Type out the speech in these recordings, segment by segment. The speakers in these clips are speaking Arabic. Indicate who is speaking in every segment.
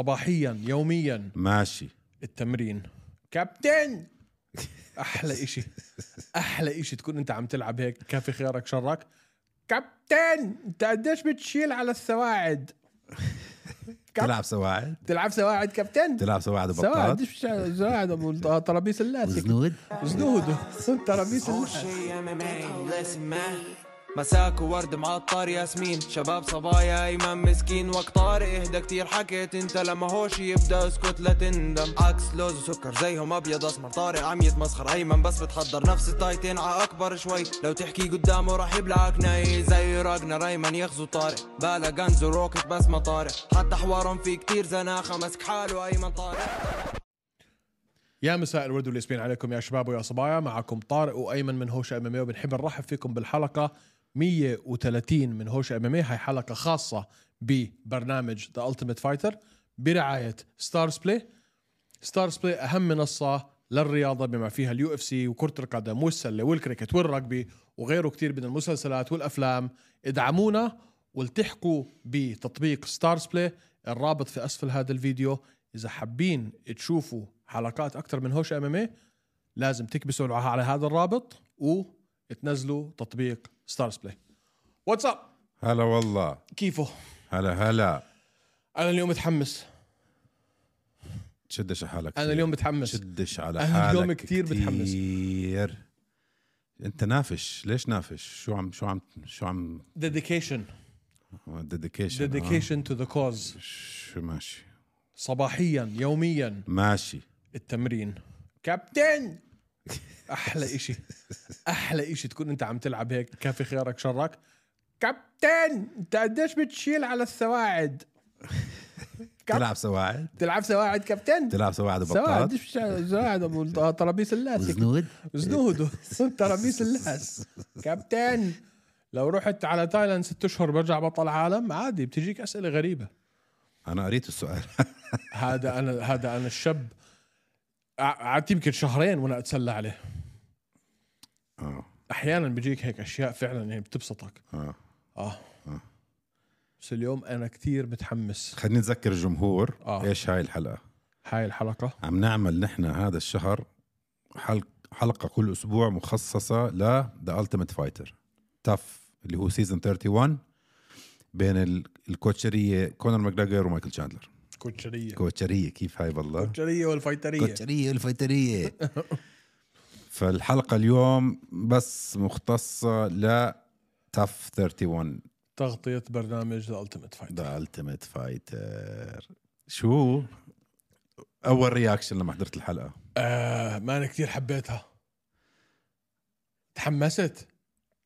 Speaker 1: صباحيا يوميا
Speaker 2: ماشي
Speaker 1: التمرين كابتن احلى إشي احلى إشي تكون انت عم تلعب هيك كافي خيارك شرك كابتن انت قديش بتشيل على السواعد
Speaker 2: تلعب سواعد
Speaker 1: تلعب سواعد كابتن
Speaker 2: تلعب سواعد
Speaker 1: سواعد
Speaker 2: وبطاط
Speaker 1: ايش بتشيل سواعد أبو ترابيس اللاسك
Speaker 2: زنود
Speaker 1: زنوده ترابيس اللاسك
Speaker 3: مساك وورد معطر ياسمين شباب صبايا ايمن مسكين وقت طارق اهدى كتير حكيت انت لما هوش يبدا اسكت لا تندم عكس لوز وسكر زيهم ابيض اسمر طارق عم يتمسخر ايمن بس بتحضر نفس التايتين ع اكبر شوي لو تحكي قدامه راح يبلعك ناي زي راجنا ريمان يغزو طارق بالا غنز وروكت بس ما طارق حتى حوارهم في كتير زناخه مسك حاله ايمن طارق
Speaker 1: يا مساء الورد والياسمين عليكم يا شباب ويا صبايا معكم طارق وايمن من هوشة امامية إيه. وبنحب نرحب فيكم بالحلقه 130 من هوشة امامية إيه. هاي حلقه خاصه ببرنامج ذا التيميت فايتر برعايه ستارز بلاي ستارز بلاي اهم منصه للرياضه بما فيها اليو اف سي وكره القدم والسله والكريكت والرugby وغيره كتير من المسلسلات والافلام ادعمونا والتحقوا بتطبيق ستارز بلاي الرابط في اسفل هذا الفيديو اذا حابين تشوفوا حلقات اكثر من هوش ام ام لازم تكبسوا على هذا الرابط وتنزلوا تطبيق ستارز بلاي واتساب
Speaker 2: هلا والله
Speaker 1: كيفه
Speaker 2: هلا هلا
Speaker 1: انا اليوم متحمس
Speaker 2: تشدش على حالك
Speaker 1: انا اليوم متحمس
Speaker 2: تشدش على حالك
Speaker 1: أنا اليوم كتير متحمس.
Speaker 2: كتير. انت نافش ليش نافش شو عم شو عم شو عم
Speaker 1: ديديكيشن
Speaker 2: ديديكيشن
Speaker 1: ديديكيشن تو ذا كوز
Speaker 2: شو ماشي
Speaker 1: صباحيا يوميا
Speaker 2: ماشي
Speaker 1: التمرين كابتن احلى إشي احلى إشي تكون انت عم تلعب هيك كافي خيارك شرك كابتن انت قديش بتشيل على السواعد كاب-
Speaker 2: تلعب سواعد
Speaker 1: تلعب سواعد كابتن
Speaker 2: تلعب سواعد
Speaker 1: سواعد
Speaker 2: وبطاط
Speaker 1: ايش بتشيل؟ سواعد ابو ترابيس اللاسك
Speaker 2: زنود
Speaker 1: زنوده ترابيس اللاس كابتن لو رحت على تايلاند ست اشهر برجع بطل عالم عادي بتجيك اسئله غريبه
Speaker 2: انا قريت السؤال
Speaker 1: هذا انا هذا انا الشاب ع- قعدت يمكن شهرين وانا اتسلى عليه
Speaker 2: اه
Speaker 1: احيانا بيجيك هيك اشياء فعلا يعني بتبسطك
Speaker 2: اه
Speaker 1: اه
Speaker 2: آه.
Speaker 1: بس اليوم انا كتير متحمس
Speaker 2: خليني نذكر الجمهور
Speaker 1: آه.
Speaker 2: ايش هاي الحلقه
Speaker 1: هاي الحلقه
Speaker 2: عم نعمل نحن هذا الشهر حلق حلقه كل اسبوع مخصصه ل ذا التيمت فايتر تف اللي هو سيزون 31 بين ال- الكوتشريه كونر ماجراجر ومايكل شاندلر
Speaker 1: كوتشريه
Speaker 2: كوتشريه كيف هاي والله
Speaker 1: كوتشريه والفايتريه
Speaker 2: كوتشريه والفايتريه فالحلقه اليوم بس مختصه ل تف 31
Speaker 1: تغطيه برنامج ذا التيميت فايت
Speaker 2: ذا التيمت فايتر شو اول رياكشن لما حضرت الحلقه
Speaker 1: آه ما انا كتير حبيتها تحمست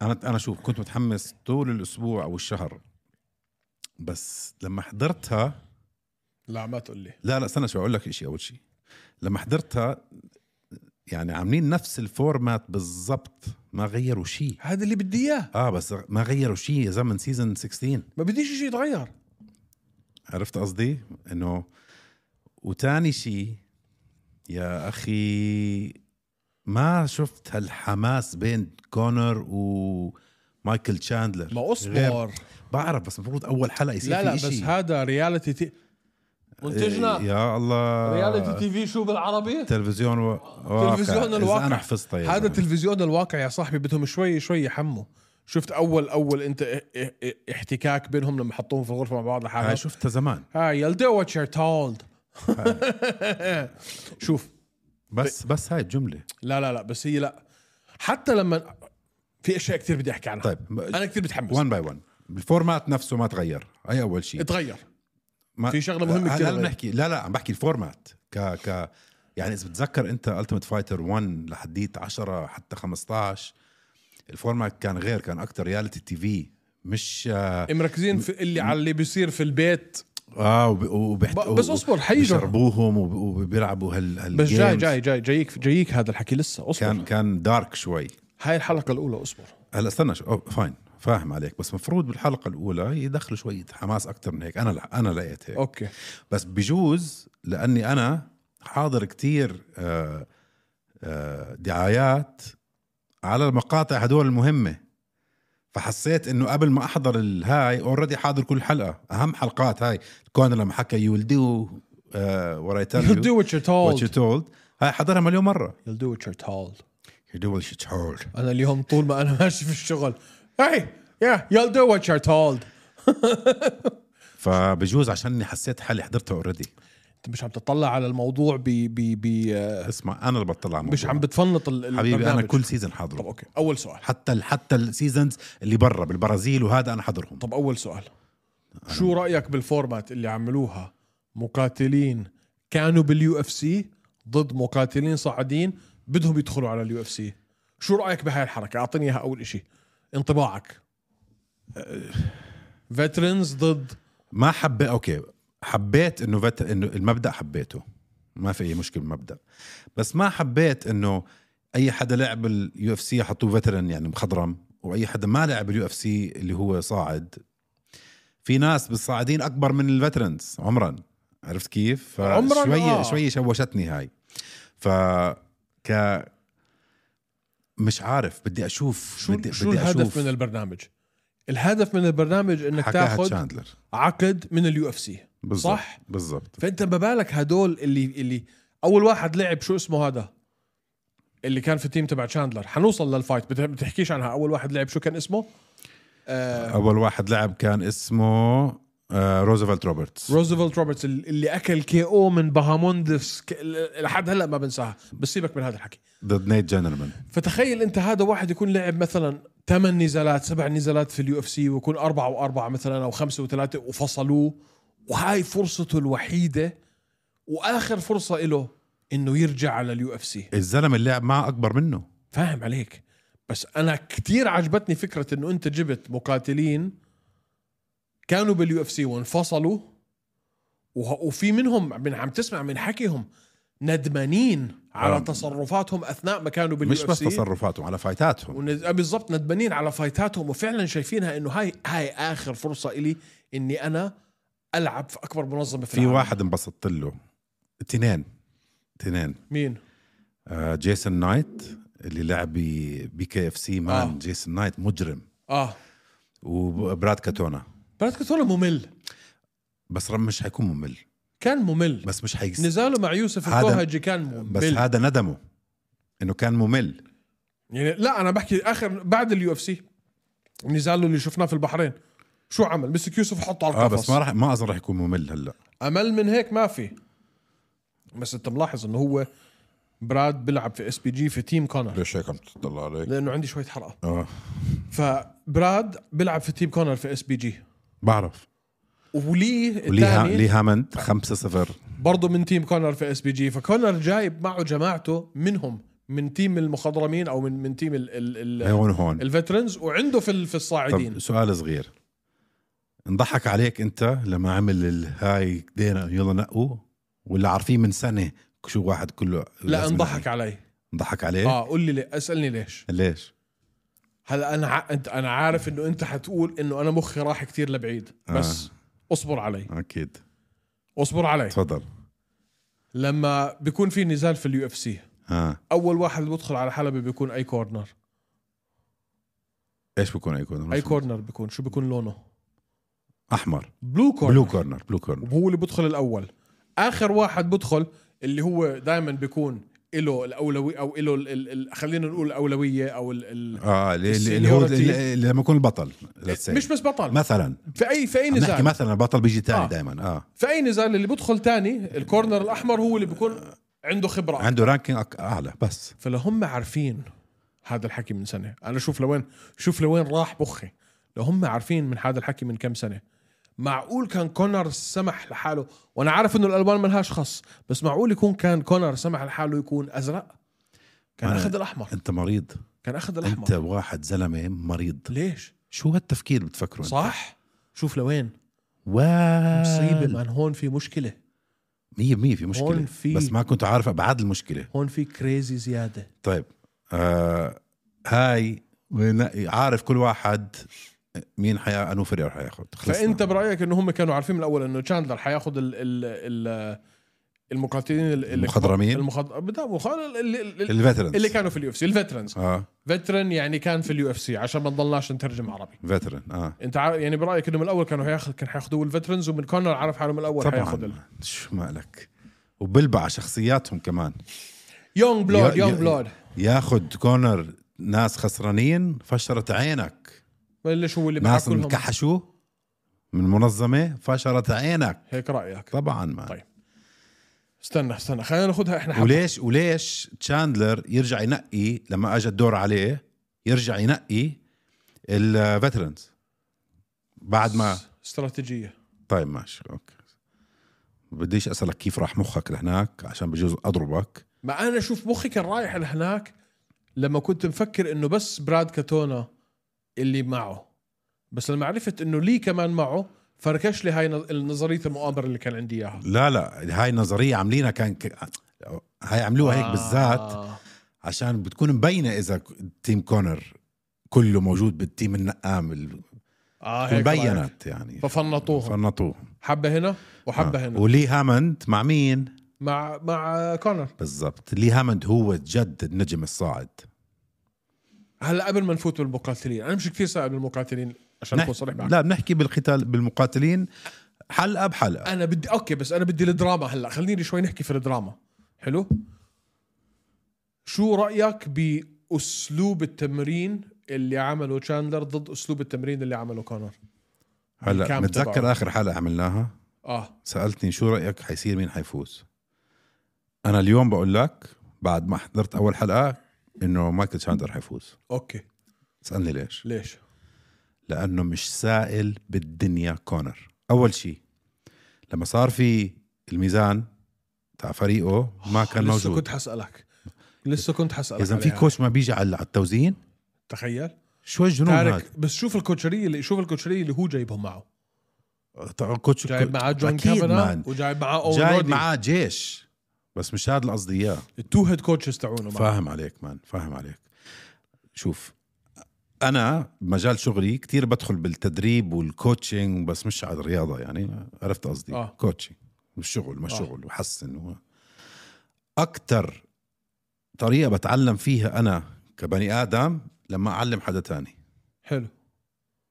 Speaker 2: انا انا شوف كنت متحمس طول الاسبوع او الشهر بس لما حضرتها
Speaker 1: لا ما تقول لي
Speaker 2: لا لا استنى شو اقول لك شيء اول شيء لما حضرتها يعني عاملين نفس الفورمات بالضبط ما غيروا شيء
Speaker 1: هذا اللي بدي اياه
Speaker 2: اه بس ما غيروا شيء يا زلمه سيزون 16
Speaker 1: ما بديش شيء يتغير
Speaker 2: عرفت قصدي انه وتاني شيء يا اخي ما شفت هالحماس بين كونر ومايكل تشاندلر
Speaker 1: ما
Speaker 2: غير-
Speaker 1: اصبر
Speaker 2: بعرف بس المفروض اول حلقه يصير
Speaker 1: لا لا
Speaker 2: في
Speaker 1: بس
Speaker 2: إشي.
Speaker 1: هذا رياليتي تي
Speaker 2: إيه،
Speaker 1: منتجنا
Speaker 2: يا الله
Speaker 1: رياليتي تي في شو بالعربي
Speaker 2: تلفزيون و... واقع.
Speaker 1: تلفزيون
Speaker 2: إذا
Speaker 1: الواقع.
Speaker 2: انا حفظتها يا
Speaker 1: هذا
Speaker 2: زلمة.
Speaker 1: تلفزيون الواقع يا صاحبي بدهم شوي شوي يحموا شفت اول اول انت اه- اه- اه- احتكاك بينهم لما حطوهم في الغرفه مع بعض
Speaker 2: هاي
Speaker 1: لحالهم
Speaker 2: شفتها زمان
Speaker 1: هاي يل دو وات يور تولد شوف
Speaker 2: بس
Speaker 1: طيب.
Speaker 2: بس هاي الجمله
Speaker 1: لا لا لا بس هي لا حتى لما في اشياء كثير بدي احكي عنها
Speaker 2: طيب
Speaker 1: انا كثير متحمس
Speaker 2: 1 باي 1 الفورمات نفسه ما تغير هاي اول شيء
Speaker 1: اتغير
Speaker 2: ما...
Speaker 1: في شغلة مهمة كتير
Speaker 2: هلا
Speaker 1: غير.
Speaker 2: بنحكي لا لا عم بحكي الفورمات ك ك يعني اذا بتتذكر انت التيمت فايتر 1 لحديت 10 حتى 15 الفورمات كان غير كان اكثر رياليتي تي في مش اه
Speaker 1: إيه، مركزين في اللي على اللي بيصير في البيت
Speaker 2: آه، وب- وبيحت...
Speaker 1: ب- بس اصبر حيجوا.
Speaker 2: بيشربوهم وب- وبيلعبوا هال هال
Speaker 1: بس جاي
Speaker 2: games.
Speaker 1: جاي جاي جايك جايك هذا الحكي لسه اصبر
Speaker 2: كان كان دارك شوي
Speaker 1: هاي الحلقه الاولى اصبر
Speaker 2: هلا استنى شو أو فاين فاهم عليك بس مفروض بالحلقه الاولى يدخلوا شويه حماس اكثر من هيك انا لا انا لقيت هيك
Speaker 1: اوكي
Speaker 2: بس بجوز لاني انا حاضر كتير آه، آه، دعايات على المقاطع هدول المهمه فحسيت انه قبل ما احضر الهاي اوريدي حاضر كل حلقه اهم حلقات هاي كونر لما حكى يو ويل دو وات اي تيل
Speaker 1: You'll do what you're told
Speaker 2: وات يو تولد هاي حضرها مليون مره
Speaker 1: You'll do what you're told
Speaker 2: يو دو وات يو تولد
Speaker 1: انا اليوم طول ما انا ماشي في الشغل هاي يا you'll do what you're told
Speaker 2: فبجوز عشان اني حسيت حالي حضرتها اوريدي
Speaker 1: انت مش عم تطلع على الموضوع ب ب ب آه،
Speaker 2: اسمع انا اللي بطلع على
Speaker 1: مش
Speaker 2: الموضوع.
Speaker 1: عم بتفنط ال- البرنامج
Speaker 2: حبيبي انا كل سيزون حاضره
Speaker 1: طب اوكي اول سؤال
Speaker 2: حتى ال- حتى السيزونز اللي برا بالبرازيل وهذا انا حضرهم
Speaker 1: طب اول سؤال شو رايك بالفورمات اللي عملوها مقاتلين كانوا باليو اف سي ضد مقاتلين صاعدين بدهم يدخلوا على اليو اف سي شو رايك بهاي الحركه اعطيني اياها اول إشي انطباعك
Speaker 2: أه.
Speaker 1: فيترنز ضد
Speaker 2: ما حبيت اوكي حبيت انه فت... انه المبدا حبيته ما في اي مشكله بالمبدا بس ما حبيت انه اي حدا لعب اليو اف سي حطوه فترن يعني مخضرم واي حدا ما لعب اليو اف سي اللي هو صاعد في ناس بالصاعدين اكبر من الفترنز عمرا عرفت كيف؟
Speaker 1: عمراً، آه.
Speaker 2: شوي شوي شوشتني هاي ف ك مش عارف بدي اشوف
Speaker 1: شو
Speaker 2: بدي,
Speaker 1: شو
Speaker 2: بدي
Speaker 1: الهدف
Speaker 2: أشوف.
Speaker 1: من البرنامج الهدف من البرنامج انك
Speaker 2: حكاها
Speaker 1: تاخذ
Speaker 2: تشاندلر
Speaker 1: عقد من اليو اف سي
Speaker 2: بالضبط
Speaker 1: صح
Speaker 2: بالضبط
Speaker 1: فانت ما بالك هدول اللي اللي اول واحد لعب شو اسمه هذا اللي كان في التيم تبع تشاندلر حنوصل للفايت بت- بتحكيش عنها اول واحد لعب شو كان اسمه
Speaker 2: اول واحد لعب كان اسمه آه، روزفلت روبرتس
Speaker 1: روزفلت روبرتس ال- اللي اكل كي او من باهاموندس ك- ال- لحد هلا ما بنساها بس سيبك من هذا الحكي
Speaker 2: ضد نيت جنرمان
Speaker 1: فتخيل انت هذا واحد يكون لعب مثلا ثمان نزالات سبع نزالات في اليو اف سي ويكون أربعة وأربعة مثلا أو خمسة وثلاثة وفصلوه وهاي فرصته الوحيدة وآخر فرصة له إنه يرجع على اليو اف سي
Speaker 2: الزلمه اللي لعب معه اكبر منه
Speaker 1: فاهم عليك بس انا كتير عجبتني فكره انه انت جبت مقاتلين كانوا باليو اف سي وانفصلوا وه- وفي منهم من عم تسمع من حكيهم ندمانين على
Speaker 2: آه.
Speaker 1: تصرفاتهم اثناء ما كانوا باليو
Speaker 2: مش
Speaker 1: اف
Speaker 2: بس
Speaker 1: سي
Speaker 2: تصرفاتهم على فايتاتهم
Speaker 1: آه، بالضبط ندمانين على فايتاتهم وفعلا شايفينها انه هاي هاي اخر فرصه الي اني انا العب في اكبر منظمه في,
Speaker 2: في
Speaker 1: العالم.
Speaker 2: واحد انبسطت له تنين تنين
Speaker 1: مين
Speaker 2: آه، جيسون نايت اللي لعب بي كي اف سي مان
Speaker 1: آه.
Speaker 2: جيسون نايت مجرم
Speaker 1: اه
Speaker 2: وبراد كاتونا
Speaker 1: براد كاتولا ممل
Speaker 2: بس رم مش حيكون ممل
Speaker 1: كان ممل
Speaker 2: بس مش حيس
Speaker 1: نزاله مع يوسف
Speaker 2: هذا-
Speaker 1: الكوهجي كان ممل
Speaker 2: بس هذا ندمه انه كان ممل
Speaker 1: يعني لا انا بحكي اخر بعد اليو اف سي نزاله اللي شفناه في البحرين شو عمل مسك يوسف وحطه على
Speaker 2: اه
Speaker 1: القفص
Speaker 2: بس ما راح ما اظن راح يكون ممل هلا
Speaker 1: امل من هيك ما في بس انت ملاحظ انه هو براد بيلعب في اس بي جي في تيم كونر
Speaker 2: ليش هيك عم تطلع عليك؟
Speaker 1: لانه عندي شويه حرقه
Speaker 2: اه
Speaker 1: فبراد بيلعب في تيم كونر في اس بي جي
Speaker 2: بعرف
Speaker 1: وليه
Speaker 2: وليها
Speaker 1: الثاني
Speaker 2: لي هامند
Speaker 1: طيب.
Speaker 2: 5 0
Speaker 1: برضه من تيم كونر في اس بي جي فكونر جايب معه جماعته منهم من تيم المخضرمين او من من تيم ال ال ال
Speaker 2: هون هون
Speaker 1: الفترنز وعنده في ال- في الصاعدين
Speaker 2: أيوه. طب سؤال صغير انضحك عليك انت لما عمل الهاي ايدينا يلا نقوا ولا عارفين من سنه شو واحد كله
Speaker 1: لا
Speaker 2: لازم
Speaker 1: انضحك
Speaker 2: ينقي؟
Speaker 1: علي
Speaker 2: انضحك عليه آه.
Speaker 1: اه قول لي ليه اسالني ليش
Speaker 2: ليش
Speaker 1: هلا انا ع... انت انا عارف انه انت حتقول انه انا مخي راح كتير لبعيد بس آه. اصبر علي
Speaker 2: اكيد
Speaker 1: اصبر علي
Speaker 2: تفضل
Speaker 1: لما بيكون في نزال في اليو اف سي
Speaker 2: ها
Speaker 1: اول واحد بيدخل على حلبة بيكون اي كورنر
Speaker 2: ايش بكون اي كورنر
Speaker 1: اي كورنر بيكون شو بيكون لونه
Speaker 2: احمر
Speaker 1: بلو كورنر
Speaker 2: بلو كورنر بلو كورنر
Speaker 1: وهو اللي بدخل الاول اخر واحد بدخل اللي هو دائما بيكون له الاولويه او له ال... ال... ال... خلينا نقول الاولويه او ال... ال...
Speaker 2: اه اللي- اللي اللي هو
Speaker 1: Seniority.
Speaker 2: اللي- اللي لما يكون البطل let's say.
Speaker 1: مش بس بطل
Speaker 2: مثلا
Speaker 1: في اي في اي
Speaker 2: عم نحكي
Speaker 1: نزال
Speaker 2: مثلا البطل بيجي ثاني
Speaker 1: آه.
Speaker 2: آه. دائما اه
Speaker 1: في اي نزال اللي بدخل تاني الكورنر الاحمر هو اللي بيكون عنده خبره
Speaker 2: عنده رانكينج أك- اعلى بس
Speaker 1: فلهم عارفين هذا الحكي من سنه انا شوف لوين شوف لوين راح بخي لو هم عارفين من هذا الحكي من كم سنه معقول كان كونر سمح لحاله وانا عارف انه الالوان ملهاش خص بس معقول يكون كان كونر سمح لحاله يكون ازرق كان
Speaker 2: أنا-
Speaker 1: اخذ الاحمر
Speaker 2: انت مريض
Speaker 1: كان اخذ
Speaker 2: انت
Speaker 1: الاحمر
Speaker 2: واحد زلمه مريض
Speaker 1: ليش
Speaker 2: شو هالتفكير بتفكروا انت؟
Speaker 1: صح شوف لوين مصيبه
Speaker 2: مصيبة
Speaker 1: مان هون في مشكله
Speaker 2: مية مية في
Speaker 1: هون
Speaker 2: مشكلة
Speaker 1: في-
Speaker 2: بس ما كنت عارف أبعاد المشكلة
Speaker 1: هون في كريزي زياده
Speaker 2: طيب آه هاي ون- عارف كل واحد مين حيا أنو فريق حياخد خلصنا.
Speaker 1: فانت برايك انه هم كانوا عارفين من الاول انه تشاندلر حياخذ ال ال ال المقاتلين ال- ال-
Speaker 2: المخضرمين؟
Speaker 1: المخض... بدأ- مخ- ال- ال- ال-
Speaker 2: الفيترنز
Speaker 1: اللي كانوا في اليو اف سي الفترنز
Speaker 2: اه
Speaker 1: فترن يعني كان في اليو اف سي عشان ما نضلناش نترجم عربي
Speaker 2: فيترن اه
Speaker 1: انت عارف يعني برايك انه من الاول كانوا هياخذ كان حياخذوه الفترنز ومن كونر عارف حاله من الاول حياخذ ال-
Speaker 2: طبعا شو مالك وبلبع شخصياتهم كمان
Speaker 1: يونج بلود
Speaker 2: يا-
Speaker 1: يونج
Speaker 2: يا-
Speaker 1: بلود
Speaker 2: ياخد كونر ناس خسرانين فشرت عينك
Speaker 1: ليش هو اللي معاه
Speaker 2: ناس
Speaker 1: كلهم
Speaker 2: انكحشوا من منظمه فشرت عينك
Speaker 1: هيك رايك
Speaker 2: طبعا ما
Speaker 1: طيب. استنى استنى خلينا ناخذها احنا حبة.
Speaker 2: وليش وليش تشاندلر يرجع ينقي لما اجى الدور عليه يرجع ينقي الفترنز بعد ما
Speaker 1: استراتيجيه
Speaker 2: طيب ماشي اوكي بديش اسالك كيف راح مخك لهناك عشان بجوز اضربك
Speaker 1: ما انا اشوف مخي كان رايح لهناك لما كنت مفكر انه بس براد كاتونا اللي معه بس لما عرفت انه لي كمان معه فركش لي هاي نظ- نظريه المؤامره اللي كان عندي اياها
Speaker 2: لا لا هاي النظريه عاملينها كان ك... هاي عملوها هيك بالذات
Speaker 1: آه.
Speaker 2: عشان بتكون مبينه اذا ك- تيم كونر كله موجود بالتيم النقام ال-
Speaker 1: اه هيك رأيك.
Speaker 2: مبينت يعني
Speaker 1: ففنطوهم
Speaker 2: فنطوه
Speaker 1: حبه هنا وحبه
Speaker 2: آه.
Speaker 1: هنا
Speaker 2: ولي هامند مع مين
Speaker 1: مع مع كونر
Speaker 2: بالضبط لي هامند هو جد النجم الصاعد
Speaker 1: هلا قبل ما نفوت بالمقاتلين انا مش كثير سائل بالمقاتلين عشان اكون صريح معك
Speaker 2: لا بنحكي بالقتال بالمقاتلين حلقه بحلقه
Speaker 1: انا بدي اوكي بس انا بدي الدراما هلا خليني شوي نحكي في الدراما حلو شو رايك باسلوب التمرين اللي عمله تشاندلر ضد اسلوب التمرين اللي عمله كونر
Speaker 2: هلا
Speaker 1: الكام
Speaker 2: متذكر
Speaker 1: تبعه.
Speaker 2: اخر حلقه عملناها
Speaker 1: اه
Speaker 2: سالتني شو رايك حيصير مين حيفوز انا اليوم بقول لك بعد ما حضرت اول حلقه انه مايكل تشاندر حيفوز
Speaker 1: اوكي
Speaker 2: اسالني ليش
Speaker 1: ليش
Speaker 2: لانه مش سائل بالدنيا كونر اول شيء لما صار في الميزان تاع فريقه ما كان
Speaker 1: لسه
Speaker 2: موجود
Speaker 1: كنت حسالك لسه كنت حسالك
Speaker 2: اذا في
Speaker 1: عليها.
Speaker 2: كوتش ما بيجي على على التوزيع
Speaker 1: تخيل
Speaker 2: شو الجنون هذا
Speaker 1: تارك بس شوف الكوتشريه اللي شوف الكوتشريه اللي هو جايبهم معه
Speaker 2: طبعاً كوتش
Speaker 1: جايب معاه جون
Speaker 2: أكيد
Speaker 1: كابانا
Speaker 2: مان.
Speaker 1: وجايب معاه اون
Speaker 2: جايب معاه جيش بس مش هذا اللي قصدي اياه
Speaker 1: التو هيد كوتشز تاعونه معاه
Speaker 2: فاهم عليك مان فاهم عليك شوف انا بمجال شغلي كتير بدخل بالتدريب والكوتشنج بس مش على الرياضه يعني عرفت قصدي
Speaker 1: آه.
Speaker 2: كوتشنج الشغل ما
Speaker 1: آه.
Speaker 2: شغل وحسن و... اكتر طريقه بتعلم فيها انا كبني ادم لما اعلم حدا تاني
Speaker 1: حلو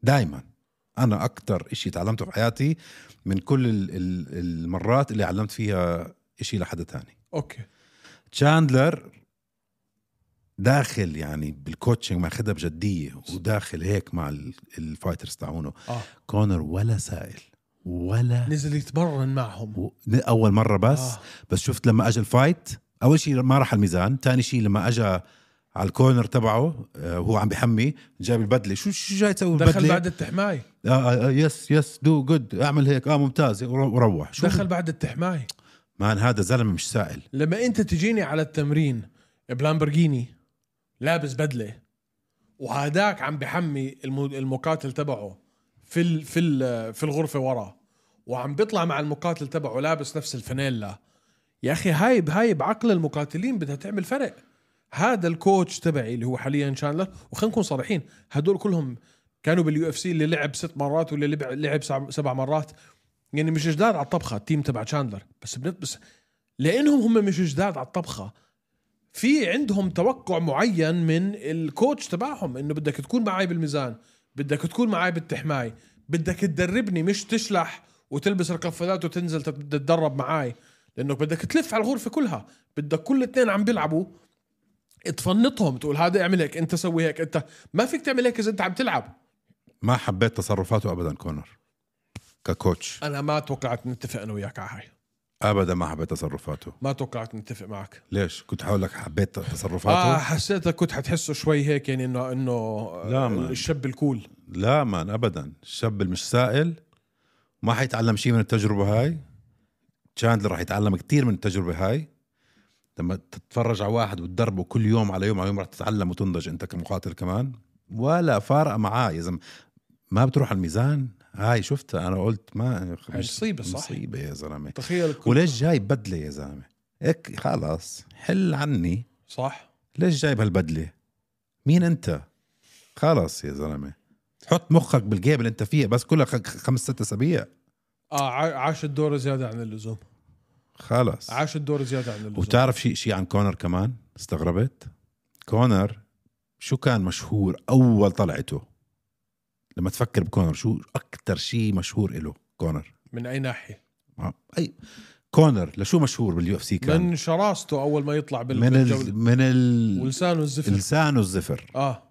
Speaker 2: دائما انا اكتر إشي تعلمته في حياتي من كل ال- ال- المرات اللي علمت فيها إشي لحدا تاني
Speaker 1: اوكي
Speaker 2: تشاندلر داخل يعني بالكوتشنج ماخدها بجديه وداخل هيك مع ال- الفايترز تاعونه
Speaker 1: اه
Speaker 2: كونر ولا سائل ولا
Speaker 1: نزل يتمرن معهم
Speaker 2: و- اول مره بس
Speaker 1: آه.
Speaker 2: آه. بس شفت لما اجى الفايت اول شيء ما راح الميزان تاني شيء لما اجى على الكورنر تبعه آه، وهو عم بحمي جاب البدله شو شو جاي تسوي
Speaker 1: دخل
Speaker 2: بالبدله
Speaker 1: بعد التحماي
Speaker 2: آه، آه آه، يس يس دو جود اعمل هيك اه ممتاز ورو- وروح شو
Speaker 1: دخل بعد التحماي
Speaker 2: مان هذا زلمه مش سائل
Speaker 1: لما انت تجيني على التمرين بلامبرجيني لابس بدله وهداك عم بحمي الم- المقاتل تبعه في ال في ال في الغرفه ورا وعم بيطلع مع المقاتل تبعه لابس نفس الفانيلا يا اخي هاي هاي بعقل المقاتلين بدها تعمل فرق هذا الكوتش تبعي اللي هو حاليا شانلر وخلينا نكون صريحين هدول كلهم كانوا باليو اف سي اللي لعب ست مرات واللي لعب لعب سبع- سبع مرات يعني مش جداد على الطبخه التيم تبع شاندلر بس بنت- بس لانهم هم مش جداد على الطبخه في عندهم توقع معين من الكوتش تبعهم انه بدك تكون معي بالميزان بدك تكون معي بالتحماي بدك تدربني مش تشلح وتلبس القفازات وتنزل تت- تتدرب معي لانه بدك تلف على الغرفه كلها بدك كل اثنين عم بيلعبوا تفنطهم تقول هذا اعمل هيك انت سوي هيك انت ما فيك تعمل هيك اذا انت عم تلعب
Speaker 2: ما حبيت تصرفاته ابدا كونر ككوتش
Speaker 1: انا ما توقعت نتفق انا وياك على هاي
Speaker 2: ابدا ما حبيت تصرفاته
Speaker 1: ما توقعت نتفق معك
Speaker 2: ليش كنت حقول لك حبيت تصرفاته
Speaker 1: اه
Speaker 2: آه.
Speaker 1: حسيتك كنت حتحسه شوي هيك يعني انه انه
Speaker 2: لا، ما-
Speaker 1: الشاب الكول
Speaker 2: لا مان ابدا الشاب اللي مش سائل ما حيتعلم شيء من التجربه هاي تشاندلر راح يتعلم كثير من التجربه هاي لما تتفرج على واحد وتدربه كل يوم على يوم على يوم راح تتعلم وتنضج انت كمقاتل كمان ولا فارقه معاه يا زلمه ما بتروح على الميزان هاي شفتها انا قلت ما
Speaker 1: هاي مصيبة، صح؟
Speaker 2: مصيبه يا زلمه
Speaker 1: تخيل كل-
Speaker 2: وليش جايب بدله يا زلمه؟ هيك خلاص حل عني
Speaker 1: صح
Speaker 2: ليش جايب هالبدله؟ مين انت؟ خلاص يا زلمه حط مخك بالجيم اللي انت فيه بس كلها خ- خمس ست اسابيع
Speaker 1: آه، اه ع- عاش الدور زياده عن اللزوم
Speaker 2: خلص
Speaker 1: عاش الدور زياده عن اللزوم
Speaker 2: وبتعرف شيء شيء عن كونر كمان استغربت كونر شو كان مشهور اول طلعته لما تفكر بكونر شو اكثر شيء مشهور له كونر
Speaker 1: من اي ناحيه
Speaker 2: آه، اي كونر لشو مشهور باليو اف سي كان
Speaker 1: من شراسته اول ما يطلع بال-
Speaker 2: من
Speaker 1: بالجوله
Speaker 2: ال من ال
Speaker 1: ولسانه الزفر
Speaker 2: لسانه الزفر
Speaker 1: اه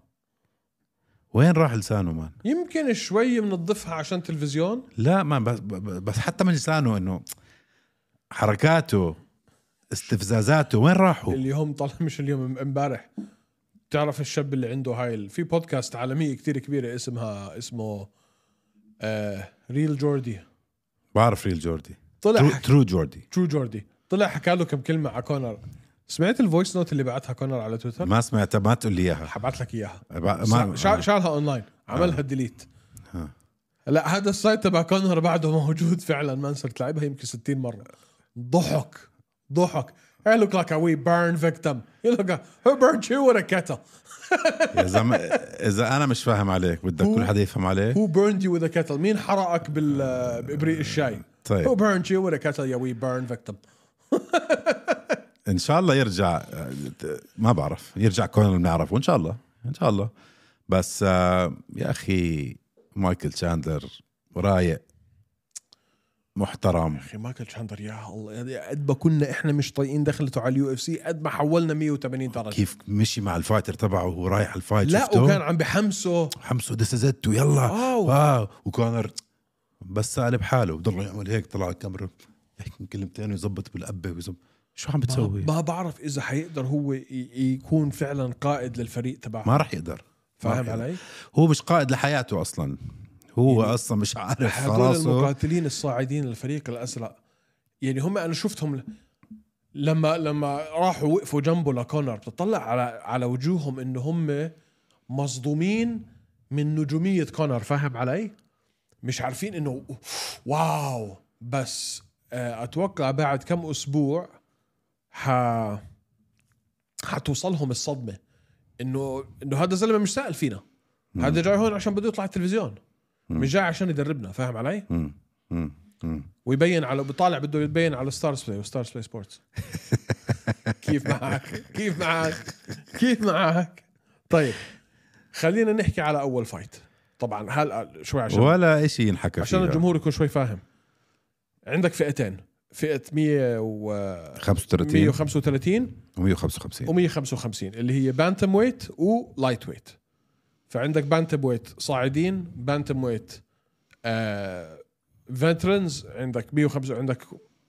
Speaker 2: وين راح لسانه مان
Speaker 1: يمكن شوي بنضيفها عشان تلفزيون
Speaker 2: لا ما بس, بس حتى من لسانه انه حركاته استفزازاته وين راحوا
Speaker 1: اللي هم طلع مش اليوم امبارح تعرف الشاب اللي عنده هاي ال- في بودكاست عالميه كتير كبيره اسمها اسمه آه ريل جوردي
Speaker 2: بعرف ريل جوردي
Speaker 1: طلع
Speaker 2: ترو,
Speaker 1: حكى
Speaker 2: ترو جوردي
Speaker 1: ترو جوردي طلع حكى له كم كلمه على كونر سمعت الفويس نوت اللي بعتها كونر على تويتر
Speaker 2: ما سمعتها ما تقول لي اياها
Speaker 1: حبعت لك اياها
Speaker 2: ما
Speaker 1: ما
Speaker 2: آه.
Speaker 1: شالها اونلاين عملها ديليت
Speaker 2: آه.
Speaker 1: لا هذا السايت تبع كونر بعده موجود فعلا ما صرت لعبها يمكن 60 مره ضحك ضحك I look like a wee burn victim. You look like who burnt you with a kettle?
Speaker 2: يا زلمه اذا انا مش فاهم عليك بدك
Speaker 1: هو-
Speaker 2: كل حدا يفهم عليك
Speaker 1: Who burned you with a kettle? مين حرقك بال بابريق الشاي؟ Who
Speaker 2: طيب
Speaker 1: burned you with a kettle يا wee burn victim؟
Speaker 2: ان شاء الله يرجع آه، ما بعرف يرجع كونر بنعرفه ان شاء الله ان شاء الله بس آه، يا اخي مايكل تشاندلر رايق محترم
Speaker 1: اخي مايكل تشاندر يا الله يعني قد ما كنا احنا مش طايقين دخلته على اليو اف سي قد ما حولنا 180 درجه
Speaker 2: كيف مشي مع الفايتر تبعه وهو رايح على الفايت
Speaker 1: طيب. لا
Speaker 2: شفته؟
Speaker 1: وكان عم بحمسه
Speaker 2: حمسه ذس از ات ويلا
Speaker 1: واو.
Speaker 2: واو وكونر بس سالب حاله بضل يعمل هيك طلع على الكاميرا يحكي كلمتين ويظبط بالقبه ويظبط شو عم بتسوي؟
Speaker 1: ما بعرف اذا حيقدر هو ي- يكون فعلا قائد للفريق تبعه
Speaker 2: ما راح يقدر ما
Speaker 1: فاهم
Speaker 2: راح يقدر.
Speaker 1: علي؟
Speaker 2: هو مش قائد لحياته اصلا هو
Speaker 1: يعني
Speaker 2: اصلا مش عارف
Speaker 1: هذول
Speaker 2: راسه
Speaker 1: المقاتلين الصاعدين للفريق الازرق يعني هم انا شفتهم ل- لما لما راحوا وقفوا جنبه لكونر بتطلع على على وجوههم انه هم مصدومين من نجوميه كونر فاهم علي؟ مش عارفين انه واو بس آه، اتوقع بعد كم اسبوع ح حتوصلهم الصدمه انه انه هذا الزلمه مش سائل فينا هذا جاي هون عشان بده يطلع التلفزيون مش جاي عشان يدربنا فاهم علي؟
Speaker 2: مم. مم. مم.
Speaker 1: ويبين على بطالع بده يبين على ستارز بلاي وستارز بلاي سبورتس كيف معك؟ كيف معك؟ كيف معك؟ طيب خلينا نحكي على اول فايت طبعا هلا شوي عشان
Speaker 2: ولا شيء ينحكى
Speaker 1: عشان
Speaker 2: فيها.
Speaker 1: الجمهور يكون شوي فاهم عندك فئتين فئه 100 و
Speaker 2: 35
Speaker 1: 135
Speaker 2: و 155
Speaker 1: و155 اللي هي بانتم ويت ولايت ويت فعندك بانتم ويت صاعدين بانتم ويت آه فيترنز عندك 105 عندك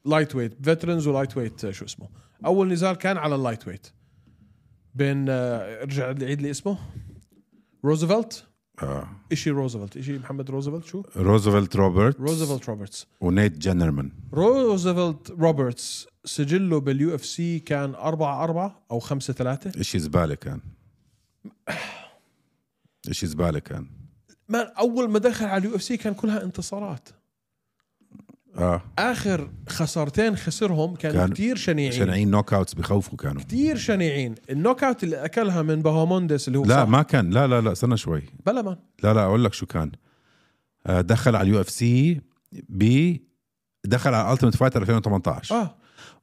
Speaker 1: لايت ويت فيترنز ولايت ويت آه، شو اسمه اول نزال كان على اللايت ويت بين آه ارجع عيد لي اسمه روزفلت
Speaker 2: آه.
Speaker 1: اشي روزفلت اشي محمد روزفلت شو
Speaker 2: روزفلت روبرت
Speaker 1: روزفلت روبرتس
Speaker 2: ونيت جنرمان
Speaker 1: روزفلت روبرتس سجله باليو اف سي كان 4 4 او 5 3
Speaker 2: شيء زباله كان شيء زباله كان
Speaker 1: مان اول ما دخل على اليو اف سي كان كلها انتصارات
Speaker 2: اه
Speaker 1: اخر خسارتين خسرهم كانوا
Speaker 2: كان-
Speaker 1: كثير شنيعين
Speaker 2: شنعين نوك اوتس بخوفوا كانوا
Speaker 1: كثير شنيعين النوك اوت اللي اكلها من باهوموندس اللي هو
Speaker 2: لا
Speaker 1: صح.
Speaker 2: ما كان لا لا لا استنى شوي
Speaker 1: بلا مان
Speaker 2: لا لا اقول لك شو كان آه، دخل على اليو اف سي ب دخل على التيمت فايتر 2018
Speaker 1: اه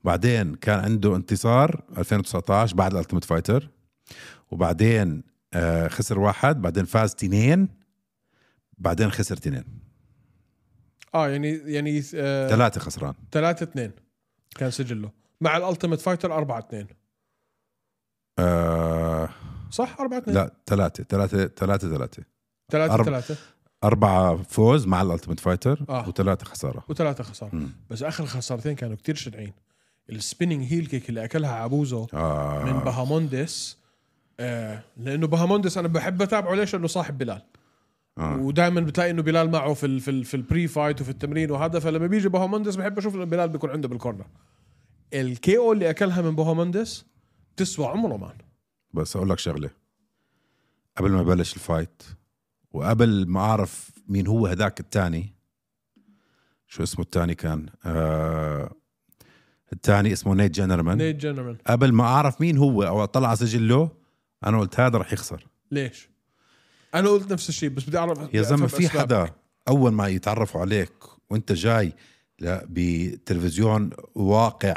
Speaker 2: بعدين كان عنده انتصار 2019 بعد الالتيميت فايتر وبعدين آه، خسر واحد بعدين فاز تنين بعدين خسر تنين
Speaker 1: اه يعني يعني آه
Speaker 2: ثلاثة خسران
Speaker 1: 3 2 كان سجله مع الالتيميت فايتر 4 2
Speaker 2: آه
Speaker 1: صح 4 2
Speaker 2: لا ثلاثة ثلاثة ثلاثة ثلاثة
Speaker 1: 3
Speaker 2: أرب-
Speaker 1: 3
Speaker 2: أربعة فوز مع الالتيميت فايتر
Speaker 1: آه.
Speaker 2: وثلاثة خسارة
Speaker 1: وثلاثه خساره
Speaker 2: مم.
Speaker 1: بس اخر خسارتين كانوا كثير شنيعين السبيننج هيل كيك اللي اكلها عبوزه
Speaker 2: آه.
Speaker 1: من باهاموندس آه لانه باهاموندس انا بحب اتابعه ليش لانه صاحب بلال آه. ودائما بتلاقي انه بلال معه في ال في, ال في البري فايت وفي التمرين وهذا فلما بيجي بوهومندس بحب اشوف انه بلال بيكون عنده بالكورنر الكي او اللي اكلها من بوهومندس تسوى عمره مان
Speaker 2: بس اقول لك شغله قبل ما بلش الفايت وقبل ما اعرف مين هو هداك الثاني شو اسمه الثاني كان آه الثاني اسمه نيت جنرمان
Speaker 1: نيت جنرمان
Speaker 2: قبل ما اعرف مين هو او اطلع على سجله انا قلت هذا رح يخسر
Speaker 1: ليش؟ انا قلت نفس الشيء بس بدي اعرف
Speaker 2: يا
Speaker 1: بدي
Speaker 2: زلمه
Speaker 1: أفهم
Speaker 2: في
Speaker 1: أسباب.
Speaker 2: حدا اول ما يتعرفوا عليك وانت جاي لا بتلفزيون واقع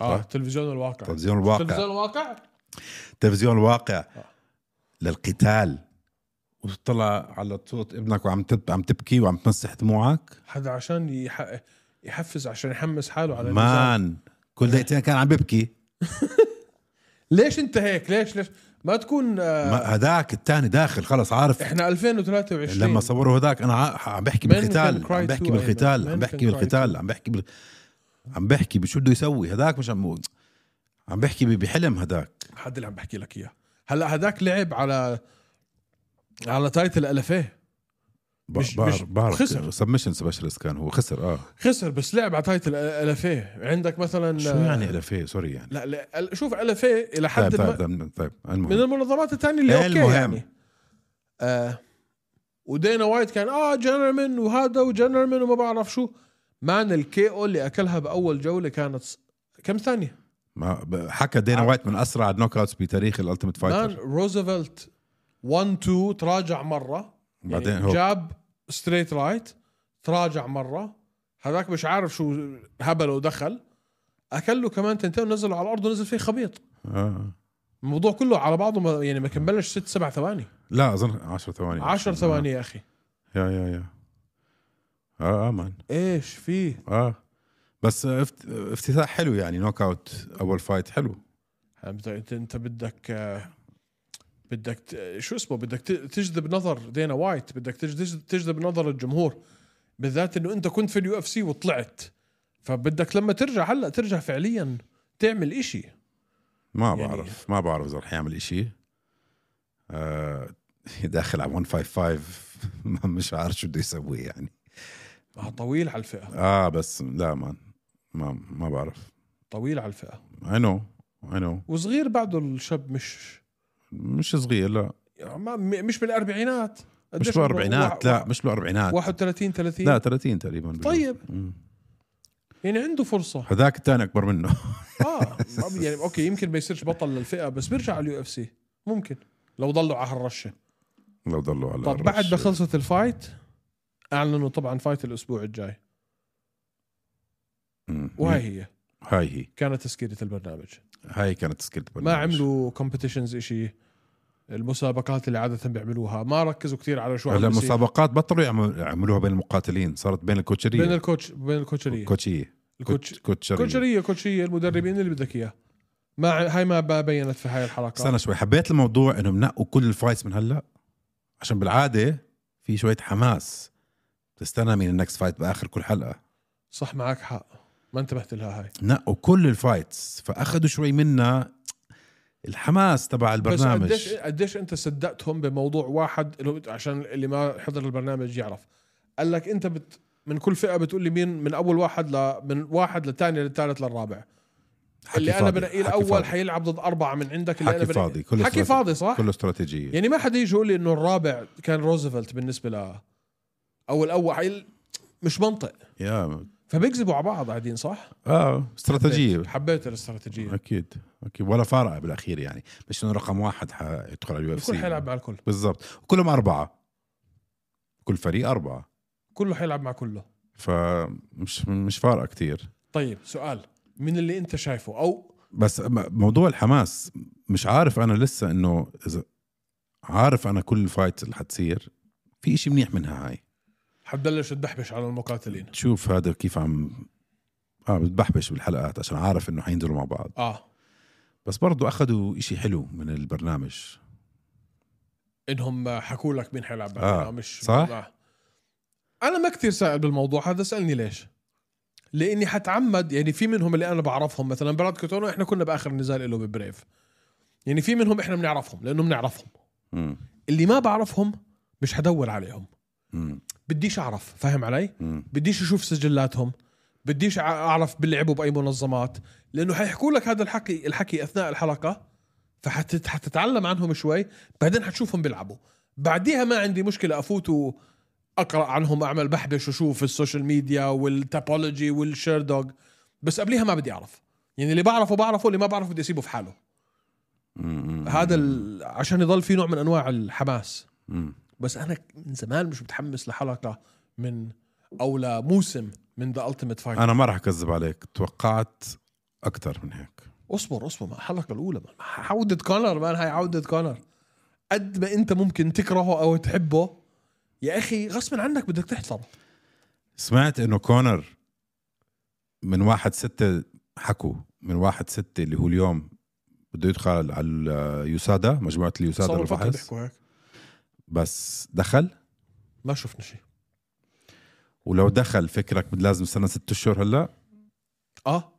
Speaker 1: اه
Speaker 2: صح.
Speaker 1: تلفزيون الواقع
Speaker 2: تلفزيون الواقع
Speaker 1: تلفزيون الواقع
Speaker 2: تلفزيون الواقع
Speaker 1: آه.
Speaker 2: للقتال وتطلع على صوت ابنك وعم تب... عم تبكي وعم تمسح دموعك
Speaker 1: حدا عشان يح... يحفز عشان يحمس حاله على النزال.
Speaker 2: مان كل دقيقتين كان عم ببكي
Speaker 1: ليش انت هيك ليش ليش ما تكون آه،
Speaker 2: ما هذاك الثاني داخل خلص عارف
Speaker 1: احنا 2023
Speaker 2: لما صوروا هذاك انا ع- عم بحكي
Speaker 1: Men
Speaker 2: بالقتال
Speaker 1: can cry
Speaker 2: عم بحكي
Speaker 1: too,
Speaker 2: بالقتال
Speaker 1: أيمن. Men
Speaker 2: عم بحكي
Speaker 1: can cry
Speaker 2: بالقتال عم بحكي بال... عم بحكي بشو بده يسوي هذاك مش عم عم بحكي ب- بحلم هذاك
Speaker 1: حد اللي عم بحكي لك اياه هلا هذاك لعب على على تايتل الافيه
Speaker 2: ب-
Speaker 1: مش-
Speaker 2: بعرف-
Speaker 1: مش-
Speaker 2: بعرف
Speaker 1: خسر.
Speaker 2: سبمشن سبشلست كان هو خسر اه
Speaker 1: خسر بس لعب على تايتل الافيه عندك مثلا
Speaker 2: شو يعني الافيه سوري يعني
Speaker 1: لا, لا ال- شوف الافيه الى
Speaker 2: طيب
Speaker 1: حد
Speaker 2: طيب
Speaker 1: ما
Speaker 2: طيب, طيب.
Speaker 1: من
Speaker 2: المهم
Speaker 1: المنظمات الثانيه اللي اوكي
Speaker 2: المهم.
Speaker 1: يعني آه ودينا وايت كان اه جنرمان وهذا وجنرمان وما بعرف شو مان الكي او اللي اكلها باول جوله كانت ص- كم ثانيه؟
Speaker 2: ما ب- حكى
Speaker 1: آه.
Speaker 2: دينا وايت من اسرع النوك اوتس بتاريخ الالتيميت
Speaker 1: مان
Speaker 2: فايتر
Speaker 1: روزفلت 1 2 تراجع مره يعني
Speaker 2: بعدين هو
Speaker 1: جاب ستريت رايت تراجع مره هذاك مش عارف شو هبل ودخل اكل له كمان تنتين ونزله على الارض ونزل فيه خبيط
Speaker 2: آه.
Speaker 1: الموضوع كله على بعضه ما يعني ما كملش ست سبع ثواني
Speaker 2: لا اظن 10 ثواني
Speaker 1: عشر
Speaker 2: آه.
Speaker 1: ثواني يا اخي
Speaker 2: يا يا يا اه اه مان
Speaker 1: ايش فيه
Speaker 2: اه بس افت- افتتاح حلو يعني نوك اوت اول فايت حلو
Speaker 1: انت آه، انت, انت بدك آه، بدك ت- شو اسمه بدك ت- تجذب نظر دينا وايت بدك تجذب, تجذب نظر الجمهور بالذات انه انت كنت في اليو اف سي وطلعت فبدك لما ترجع هلا ترجع فعليا تعمل إشي
Speaker 2: ما
Speaker 1: يعني-
Speaker 2: بعرف ما بعرف اذا رح يعمل إشي آه داخل على 155 مش عارف شو بده يسوي يعني
Speaker 1: آه، طويل على الفئه
Speaker 2: اه بس لا مان ما ما بعرف
Speaker 1: طويل على الفئه
Speaker 2: اي نو اي نو
Speaker 1: وصغير بعده الشاب مش
Speaker 2: مش صغير لا
Speaker 1: ما مش بالاربعينات
Speaker 2: مش
Speaker 1: قديش عمره؟
Speaker 2: بالاربعينات
Speaker 1: وا-
Speaker 2: لا مش بالاربعينات
Speaker 1: 31 30
Speaker 2: لا 30 تقريبا بجوز.
Speaker 1: إيه. طيب.
Speaker 2: مم.
Speaker 1: يعني عنده فرصه
Speaker 2: هذاك الثاني اكبر منه
Speaker 1: اه ما- يعني اوكي يمكن ما يصيرش بطل للفئه بس بيرجع على اليو اف سي ممكن لو ضلوا على هالرشه
Speaker 2: لو ضلوا على
Speaker 1: طب بعد
Speaker 2: الرش.
Speaker 1: ما خلصت الفايت اعلنوا طبعا فايت الاسبوع الجاي
Speaker 2: مم.
Speaker 1: وهي هي
Speaker 2: هاي هي
Speaker 1: كانت تسكيره البرنامج
Speaker 2: هاي كانت سكيلت
Speaker 1: ما عملوا كومبيتيشنز إشي المسابقات اللي عاده بيعملوها ما ركزوا كتير على شو عم
Speaker 2: هلا
Speaker 1: بيصير.
Speaker 2: المسابقات بطلوا يعمل- يعملوها بين المقاتلين صارت بين الكوتشريه
Speaker 1: بين الكوتش بين الكوتشريه
Speaker 2: كوتشيه
Speaker 1: الكوتش
Speaker 2: كوتشريه
Speaker 1: كوتشريه كوتشريه المدربين اللي بدك اياه ما ع- هاي ما ب- بينت في هاي الحلقه
Speaker 2: استنى شوي حبيت الموضوع انه منقوا كل الفايتس من هلا عشان بالعاده في شويه حماس تستنى من النكست فايت باخر كل حلقه
Speaker 1: صح معك حق ما انتبهت لها هاي
Speaker 2: نقوا كل الفايتس فاخذوا شوي منا الحماس تبع
Speaker 1: بس
Speaker 2: البرنامج
Speaker 1: قديش قديش انت صدقتهم بموضوع واحد اللي هو- عشان اللي ما حضر البرنامج يعرف قال لك انت بت من كل فئه بتقول لي مين من اول واحد ل من واحد للثاني للثالث للرابع
Speaker 2: حكي
Speaker 1: اللي انا
Speaker 2: فاضي،
Speaker 1: بنقيه
Speaker 2: حكي
Speaker 1: الاول
Speaker 2: فاضي.
Speaker 1: حيلعب ضد اربعه من عندك اللي
Speaker 2: حكي
Speaker 1: انا بنقيه-
Speaker 2: فاضي، كله
Speaker 1: حكي
Speaker 2: استراتيجي.
Speaker 1: فاضي صح
Speaker 2: كله استراتيجيه
Speaker 1: يعني ما حدا يجي يقول لي انه الرابع كان روزفلت بالنسبه ل او الاول حيل- مش منطق
Speaker 2: يا
Speaker 1: فبيكذبوا على بعض قاعدين صح؟
Speaker 2: اه استراتيجيه
Speaker 1: حبيت- حبيت الاستراتيجيه
Speaker 2: اكيد اكيد ولا فارقه بالاخير يعني مش انه رقم واحد حيدخل على اليو اف
Speaker 1: الكل حيلعب
Speaker 2: سي
Speaker 1: مع الكل
Speaker 2: بالضبط كلهم اربعه كل فريق اربعه
Speaker 1: كله حيلعب مع كله
Speaker 2: فمش مش فارقه كتير
Speaker 1: طيب سؤال من اللي انت شايفه او
Speaker 2: بس م- موضوع الحماس مش عارف انا لسه انه اذا عارف انا كل الفايت اللي حتصير في اشي منيح منها هاي
Speaker 1: حتبلش تدحبش على المقاتلين
Speaker 2: تشوف هذا كيف عم اه بتبحبش بالحلقات عشان عارف انه حينزلوا مع بعض
Speaker 1: اه
Speaker 2: بس برضو اخذوا اشي حلو من البرنامج
Speaker 1: انهم حكوا لك مين حيلعب بعد
Speaker 2: آه،
Speaker 1: آه. مش
Speaker 2: صح؟
Speaker 1: آه. انا ما كثير سائل بالموضوع هذا اسالني ليش لاني حتعمد يعني في منهم اللي انا بعرفهم مثلا براد كوتونو احنا كنا باخر نزال له ببريف يعني في منهم احنا بنعرفهم لانه بنعرفهم
Speaker 2: مم.
Speaker 1: اللي ما بعرفهم مش حدور عليهم
Speaker 2: مم.
Speaker 1: بديش اعرف فاهم علي
Speaker 2: مم.
Speaker 1: بديش اشوف سجلاتهم بديش أع- اعرف بيلعبوا باي منظمات لانه حيحكوا لك هذا الحكي الحكي اثناء الحلقه فحتتعلم عنهم شوي بعدين حتشوفهم بيلعبوا بعديها ما عندي مشكله افوت واقرا عنهم اعمل بحبش واشوف السوشيال ميديا والتابولوجي والشير دوغ بس قبليها ما بدي اعرف يعني اللي بعرفه بعرفه اللي ما بعرفه بدي اسيبه في حاله
Speaker 2: مم.
Speaker 1: هذا ال- عشان يضل في نوع من انواع الحماس
Speaker 2: مم.
Speaker 1: بس انا من زمان مش متحمس لحلقه من او لموسم من ذا التيمت فايت
Speaker 2: انا ما راح اكذب عليك توقعت اكثر من هيك
Speaker 1: اصبر اصبر ما الحلقه الاولى ما- عوده كونر مان هاي عوده كونر قد ما انت ممكن تكرهه او تحبه يا اخي غصبا عنك بدك تحضره
Speaker 2: سمعت انه كونر من واحد ستة حكوا من واحد ستة اللي هو اليوم بده يدخل على اليوسادا مجموعة اليوسادا
Speaker 1: صاروا فتره
Speaker 2: الفحص
Speaker 1: بيحكوا هيك
Speaker 2: بس دخل
Speaker 1: ما شفنا شيء
Speaker 2: ولو دخل فكرك بد- لازم استنى ست اشهر هلا
Speaker 1: اه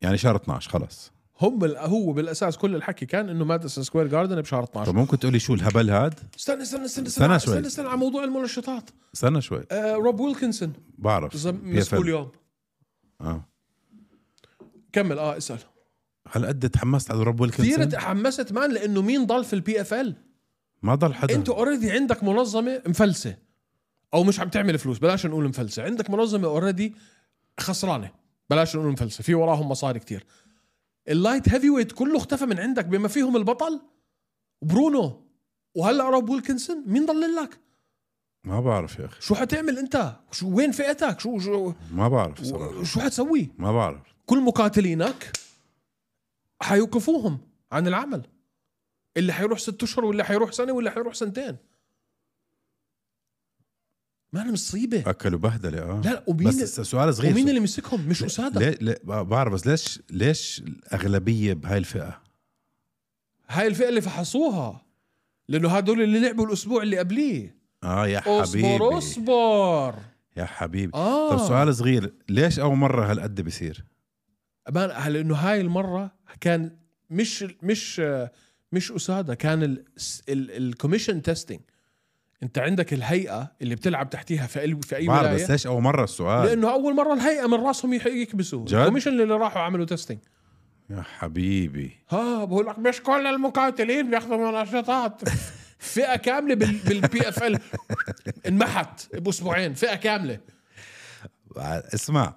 Speaker 2: يعني شهر 12 خلص
Speaker 1: هم ال- هو بالاساس كل الحكي كان انه ماديسون سكوير جاردن بشهر 12
Speaker 2: طب ممكن تقول لي شو الهبل هاد
Speaker 1: استنى استنى استنى استنى
Speaker 2: استنى شوي.
Speaker 1: استنى, استنى على موضوع المنشطات
Speaker 2: استنى شوي
Speaker 1: آه روب ويلكنسون
Speaker 2: بعرف
Speaker 1: زم-
Speaker 2: PFL.
Speaker 1: مسؤول يوم
Speaker 2: اه
Speaker 1: كمل اه اسال
Speaker 2: هل قد تحمست على روب
Speaker 1: كثير
Speaker 2: ويلكنسون
Speaker 1: تحمست مان لانه مين ضل في البي اف ال
Speaker 2: ما ضل حدا
Speaker 1: انت اوريدي عندك منظمه مفلسه او مش عم تعمل فلوس بلاش نقول مفلسه عندك منظمه اوريدي خسرانه بلاش نقول مفلسه في وراهم مصاري كتير اللايت هيفي ويت كله اختفى من عندك بما فيهم البطل برونو وهلا روب ويلكنسون مين ضل لك
Speaker 2: ما بعرف يا اخي
Speaker 1: شو حتعمل انت شو وين فئتك شو شو
Speaker 2: ما بعرف صراحة
Speaker 1: شو حتسوي
Speaker 2: ما بعرف
Speaker 1: كل مقاتلينك حيوقفوهم عن العمل اللي حيروح ست اشهر واللي حيروح سنه واللي حيروح سنتين ما انا مصيبه
Speaker 2: اكلوا بهدله اه
Speaker 1: لا لا ومين
Speaker 2: بس سؤال صغير
Speaker 1: ومين اللي مسكهم مش اساده
Speaker 2: ليه ليه بعرف بس ليش ليش الاغلبيه بهاي الفئه
Speaker 1: هاي الفئه اللي فحصوها لانه هدول اللي لعبوا الاسبوع اللي قبليه
Speaker 2: اه يا
Speaker 1: اصبر
Speaker 2: حبيبي
Speaker 1: اصبر
Speaker 2: يا حبيبي
Speaker 1: اه
Speaker 2: طب سؤال صغير ليش اول مره هالقد بيصير
Speaker 1: ما لانه هاي المره كان مش مش مش اساده كان الكوميشن تيستينج انت عندك الهيئه اللي بتلعب تحتيها في ال- في اي
Speaker 2: بعرف بس
Speaker 1: ولايه
Speaker 2: ليش اول مره السؤال
Speaker 1: لانه اول مره الهيئه من راسهم يح- يكبسوا
Speaker 2: جد؟
Speaker 1: الكوميشن اللي راحوا عملوا تيستينج
Speaker 2: يا حبيبي
Speaker 1: ها بقول لك مش كل المقاتلين بياخذوا مناشطات فئه كامله بال بالبي اف ال انمحت باسبوعين فئه كامله
Speaker 2: اسمع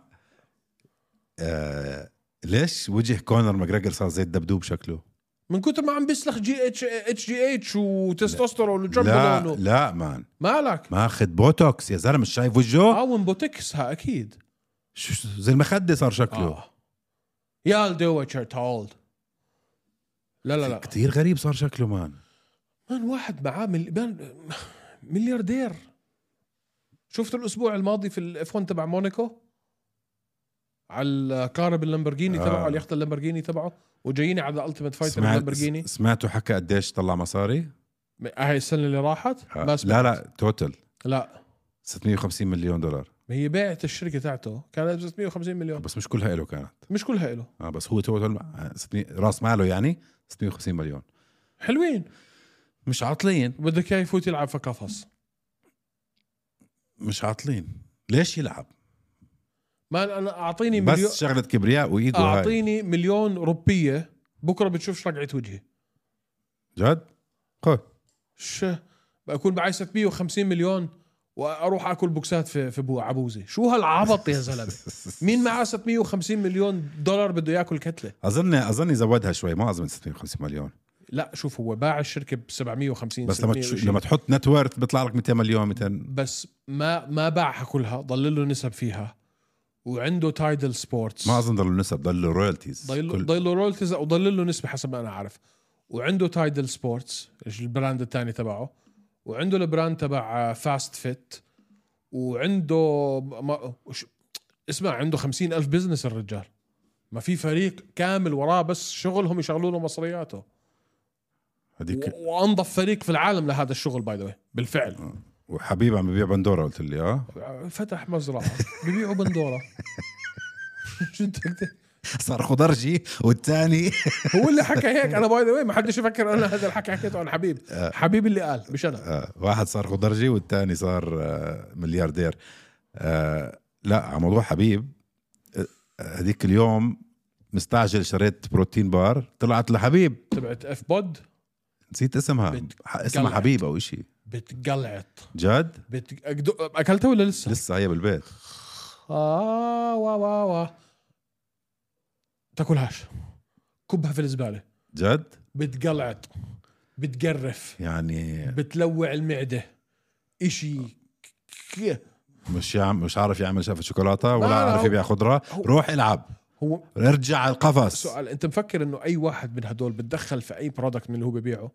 Speaker 2: آه ليش وجه كونر ماجريجر صار زي الدبدوب شكله
Speaker 1: من كتر ما عم بيسلخ جي اتش اتش جي اتش وتستوستيرون
Speaker 2: لا
Speaker 1: وجربلون
Speaker 2: لا مان
Speaker 1: مالك
Speaker 2: ماخذ بوتوكس يا زلمه مش شايف وجهه
Speaker 1: او بوتكسها اكيد
Speaker 2: شو- زي المخده صار شكله
Speaker 1: آه. يا دوتشر تولد لا لا لا
Speaker 2: كتير غريب صار شكله مان
Speaker 1: مان واحد معاه مل... مان ملياردير شفت الاسبوع الماضي في الاف 1 تبع مونيكو على القارب اللامبرجيني
Speaker 2: آه.
Speaker 1: تبعه على اليخت اللامبرجيني تبعه وجاييني على التيمت فايتر اللامبرجيني
Speaker 2: سمعتوا حكى قديش طلع مصاري؟
Speaker 1: هاي السنه اللي راحت ما
Speaker 2: لا
Speaker 1: سمعت.
Speaker 2: آه. لا توتل
Speaker 1: لا
Speaker 2: 650 مليون دولار
Speaker 1: ما هي باعت الشركه تاعته كانت 650 مليون
Speaker 2: بس مش كلها له كانت
Speaker 1: مش كلها له
Speaker 2: اه بس هو توتل مع- 600 راس ماله يعني 650 مليون
Speaker 1: حلوين
Speaker 2: مش عاطلين
Speaker 1: بدك اياه يفوت يلعب في قفص
Speaker 2: مش عاطلين ليش يلعب؟
Speaker 1: ما انا اعطيني يعني مليون
Speaker 2: بس شغله كبرياء وايده هاي
Speaker 1: اعطيني مليون روبيه بكره بتشوفش رقعه وجهي
Speaker 2: جد؟ خذ
Speaker 1: ش بكون بعايز 150 مليون واروح اكل بوكسات في في بو عبوزه شو هالعبط يا زلمه مين معاه 650 مليون دولار بده ياكل كتله
Speaker 2: اظن اظن زودها شوي ما اظن 650 مليون
Speaker 1: لا شوف هو باع الشركه ب 750
Speaker 2: بس لما
Speaker 1: 600
Speaker 2: تش...
Speaker 1: وشي.
Speaker 2: لما تحط نت ورث بيطلع لك 200 مليون 200
Speaker 1: بس ما ما باعها كلها ضل له نسب فيها وعنده تايدل سبورتس
Speaker 2: ما اظن ضلوا نسب ضلوا رويالتيز
Speaker 1: ضل ضل له رولتيز او ضل له نسبه حسب ما انا عارف وعنده تايدل سبورتس البراند الثاني تبعه وعنده البراند تبع فاست فيت وعنده ما وش- اسمع عنده خمسين ألف بزنس الرجال ما في فريق كامل وراه بس شغلهم يشغلوا له مصرياته
Speaker 2: هذيك
Speaker 1: و- وانظف فريق في العالم لهذا الشغل باي ذا بالفعل آه،
Speaker 2: وحبيب عم ببيع بندوره قلت لي اه
Speaker 1: فتح مزرعه ببيعوا بندوره شو بدك
Speaker 2: صار خضرجي والثاني
Speaker 1: هو اللي حكى هيك انا باي ذا واي ما حدش يفكر انا هذا الحكي حكيته عن حبيب حبيب اللي قال مش انا
Speaker 2: آه، واحد صار خضرجي والثاني صار آه، ملياردير آه، لا على موضوع حبيب آه، هذيك اليوم مستعجل شريت بروتين بار طلعت لحبيب
Speaker 1: تبعت اف بود
Speaker 2: نسيت اسمها
Speaker 1: بت-
Speaker 2: ح- اسمها
Speaker 1: قلعت.
Speaker 2: حبيب او شيء
Speaker 1: بتقلعت
Speaker 2: جد
Speaker 1: بت... أكدو- اكلتها ولا لسه؟
Speaker 2: لسه هي بالبيت
Speaker 1: اه وا وا وا تاكلهاش كبها في الزباله
Speaker 2: جد
Speaker 1: بتقلعت بتقرف
Speaker 2: يعني
Speaker 1: بتلوع المعده اشي ك-
Speaker 2: مش يعم مش عارف يعمل شفط شوكولاته ولا
Speaker 1: لا،
Speaker 2: عارف
Speaker 1: هو-
Speaker 2: يبيع خضره
Speaker 1: هو-
Speaker 2: روح العب
Speaker 1: هو
Speaker 2: ارجع على القفص
Speaker 1: سؤال انت مفكر انه اي واحد من هدول بتدخل في اي برودكت من اللي هو ببيعه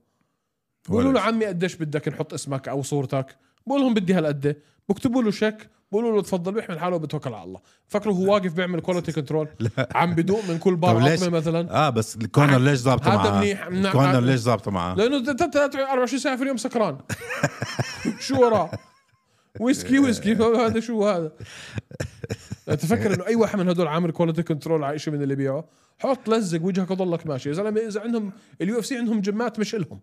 Speaker 1: بقولوا
Speaker 2: ولا
Speaker 1: له عمي قديش بدك نحط اسمك او صورتك بقول لهم بدي هالقد بكتبوا له شيك بقولوا له تفضل بيحمل حاله وبتوكل على الله فكروا هو واقف بيعمل كواليتي كنترول عم بدوق من كل
Speaker 2: طب
Speaker 1: بار
Speaker 2: ليش؟
Speaker 1: عظمه مثلا
Speaker 2: اه بس الكورنر ليش ظابطه
Speaker 1: هذا
Speaker 2: معاه؟
Speaker 1: منيح، منع-
Speaker 2: الكورنر
Speaker 1: هذا-
Speaker 2: ليش ظابطه معاه؟
Speaker 1: لانه ت- ت- ت- 24 ساعه في اليوم سكران شو وراه ويسكي ويسكي هذا شو هذا تفكر انه اي واحد من هدول عامل كواليتي كنترول على شيء من اللي بيعه حط لزق وجهك وضلك ماشي يا زلمه اذا عندهم اليو اف سي عندهم جمات مش الهم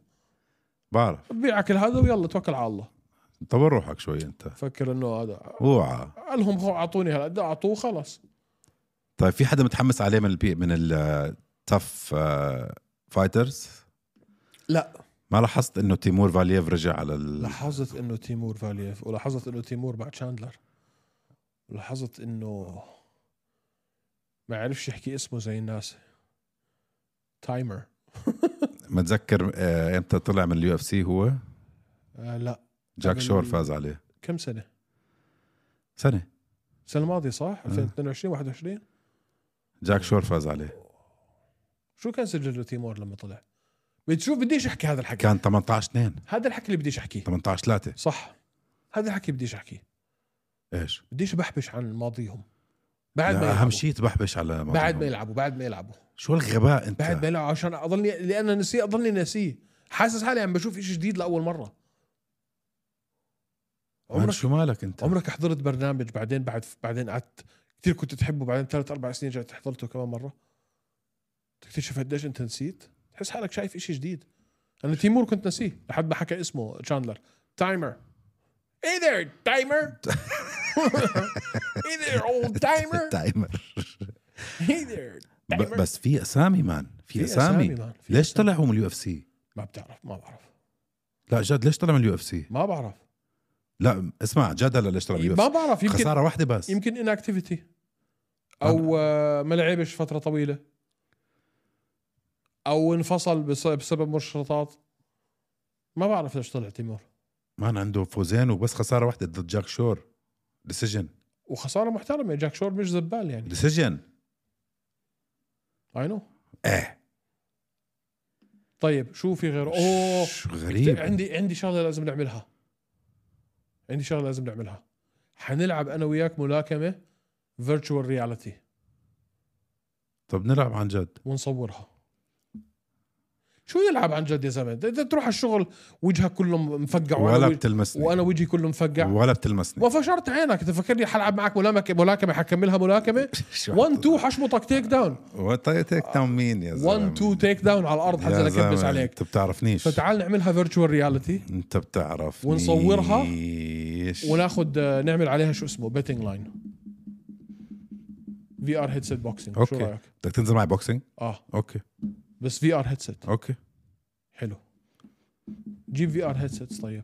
Speaker 2: بعرف
Speaker 1: بيع كل هذا ويلا توكل على الله
Speaker 2: طور روحك شوي انت
Speaker 1: فكر انه هذا
Speaker 2: اوعى
Speaker 1: قالهم خو اعطوني هلا بدي اعطوه خلص
Speaker 2: طيب في حدا متحمس عليه من البي من التف فايترز
Speaker 1: لا
Speaker 2: ما لاحظت انه تيمور فالييف رجع على ال...
Speaker 1: لاحظت انه تيمور فاليف ولاحظت انه تيمور بعد شاندلر لاحظت انه ما عرفش يحكي اسمه زي الناس تايمر
Speaker 2: متذكر آه، امتى طلع من اليو اف سي هو
Speaker 1: آه لا
Speaker 2: جاك
Speaker 1: قبل-
Speaker 2: شور فاز عليه
Speaker 1: كم سنه
Speaker 2: سنه
Speaker 1: السنه الماضيه
Speaker 2: آه.
Speaker 1: صح 2022 21
Speaker 2: جاك شور فاز عليه
Speaker 1: شو كان سجله تيمور لما طلع بتشوف بديش احكي هذا الحكي
Speaker 2: كان 18 2
Speaker 1: هذا الحكي اللي بديش احكيه
Speaker 2: 18 3
Speaker 1: صح هذا الحكي بديش احكيه
Speaker 2: ايش
Speaker 1: بديش بحبش عن ماضيهم بعد ما
Speaker 2: لا،
Speaker 1: يلعبوا.
Speaker 2: اهم يعني شيء تبحبش على موضوعهم.
Speaker 1: بعد ما يلعبوا بعد ما يلعبوا
Speaker 2: شو الغباء انت
Speaker 1: بعد ما يلعبوا عشان اضلني لان نسيه اضلني ناسيه حاسس حالي عم بشوف شيء جديد لاول مره
Speaker 2: عمرك
Speaker 1: عمرك
Speaker 2: شو مالك انت
Speaker 1: عمرك حضرت برنامج بعدين بعد بعدين قعدت كثير كنت تحبه بعدين ثلاث اربع سنين رجعت حضرته كمان مره تكتشف قديش انت نسيت تحس حالك شايف شيء جديد انا تيمور كنت نسيه لحد ما حكى اسمه تشاندلر تايمر ايه ذير تايمر ايه ذير اولد تايمر
Speaker 2: تايمر
Speaker 1: ايه ذير
Speaker 2: ب- بس في اسامي مان في
Speaker 1: في
Speaker 2: اسامي,
Speaker 1: أسامي، مان. في
Speaker 2: ليش
Speaker 1: أسامي.
Speaker 2: طلعوا من اليو اف سي
Speaker 1: ما بتعرف ما بعرف
Speaker 2: لا جد ليش طلع من اليو اف سي
Speaker 1: ما بعرف
Speaker 2: لا اسمع جد هلا ليش طلع من اليو
Speaker 1: إيه، ما
Speaker 2: اف
Speaker 1: بعرف
Speaker 2: سي
Speaker 1: يمكن
Speaker 2: خساره واحده بس
Speaker 1: يمكن ان اكتيفيتي او آه، ما لعبش فتره طويله او انفصل بس- بسبب مشرطات ما بعرف ليش طلع تيمور
Speaker 2: مان عنده فوزين وبس خساره واحده ضد جاك شور ديسيجن
Speaker 1: وخساره محترمه جاك شور مش زبال يعني
Speaker 2: ديسيجن
Speaker 1: اي نو
Speaker 2: ايه
Speaker 1: طيب شو في غيره اوه
Speaker 2: شو غريب
Speaker 1: عندي عندي شغله لازم نعملها عندي شغله لازم نعملها حنلعب انا وياك ملاكمه فيرتشوال رياليتي
Speaker 2: طب نلعب عن جد
Speaker 1: ونصورها شو نلعب عن جد يا زلمه ده- ده تروح على الشغل وجهك كله مفقع
Speaker 2: ولا
Speaker 1: وانا, وج...
Speaker 2: بتلمسني
Speaker 1: وأنا وجهي كله مفقع
Speaker 2: ولا بتلمسني
Speaker 1: وفشرت عينك انت فاكرني حلعب معك ملاكمه ملاكمه حكملها ملاكمه 1 2 حشمطك تيك داون
Speaker 2: طيب تيك
Speaker 1: آه.
Speaker 2: داون مين يا زلمه
Speaker 1: 1 2 تيك داون على الارض
Speaker 2: يا
Speaker 1: حتى اكبس
Speaker 2: زلمة،
Speaker 1: عليك
Speaker 2: انت بتعرفنيش
Speaker 1: فتعال نعملها فيرتشوال رياليتي
Speaker 2: انت بتعرف
Speaker 1: ونصورها
Speaker 2: ولا
Speaker 1: وناخذ آه، نعمل عليها شو اسمه بيتنج لاين في ار هيدسيت بوكسينج شو
Speaker 2: أوكي.
Speaker 1: رايك؟
Speaker 2: بدك تنزل معي بوكسينج
Speaker 1: اه
Speaker 2: اوكي
Speaker 1: بس في ار هيدسيت
Speaker 2: اوكي
Speaker 1: حلو جيب في ار هيدسيتس طيب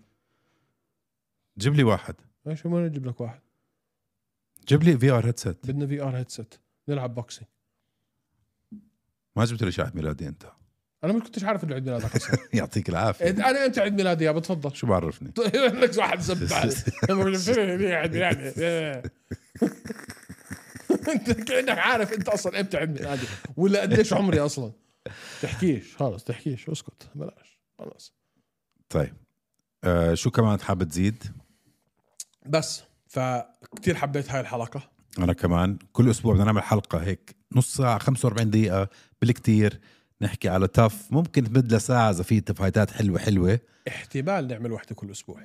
Speaker 2: جيب لي واحد
Speaker 1: ماشي ما نجيب لك واحد
Speaker 2: جيب لي في ار هيدسيت
Speaker 1: بدنا في ار هيدسيت نلعب بوكسينج
Speaker 2: ما جبت لي شاحن ميلادي انت
Speaker 1: انا ما كنتش عارف انه عيد ميلادك أصلاً.
Speaker 2: يعطيك العافيه
Speaker 1: انا انت إيه، عيد ميلادي يا بتفضل
Speaker 2: شو بعرفني
Speaker 1: لك واحد زبال لما قلت له هي عيد ميلادي يعني. انت كانك عارف انت اصلا امتى عيد ميلادي ولا قديش عمري اصلا تحكيش خلص تحكيش اسكت بلاش خلص
Speaker 2: طيب آه شو كمان حابب تزيد
Speaker 1: بس فكتير حبيت هاي الحلقه
Speaker 2: انا كمان كل اسبوع بدنا نعمل حلقه هيك نص ساعه 45 دقيقه بالكتير نحكي على تف ممكن تمد لساعه اذا في تفايتات حلوه حلوه
Speaker 1: احتمال نعمل وحده كل اسبوع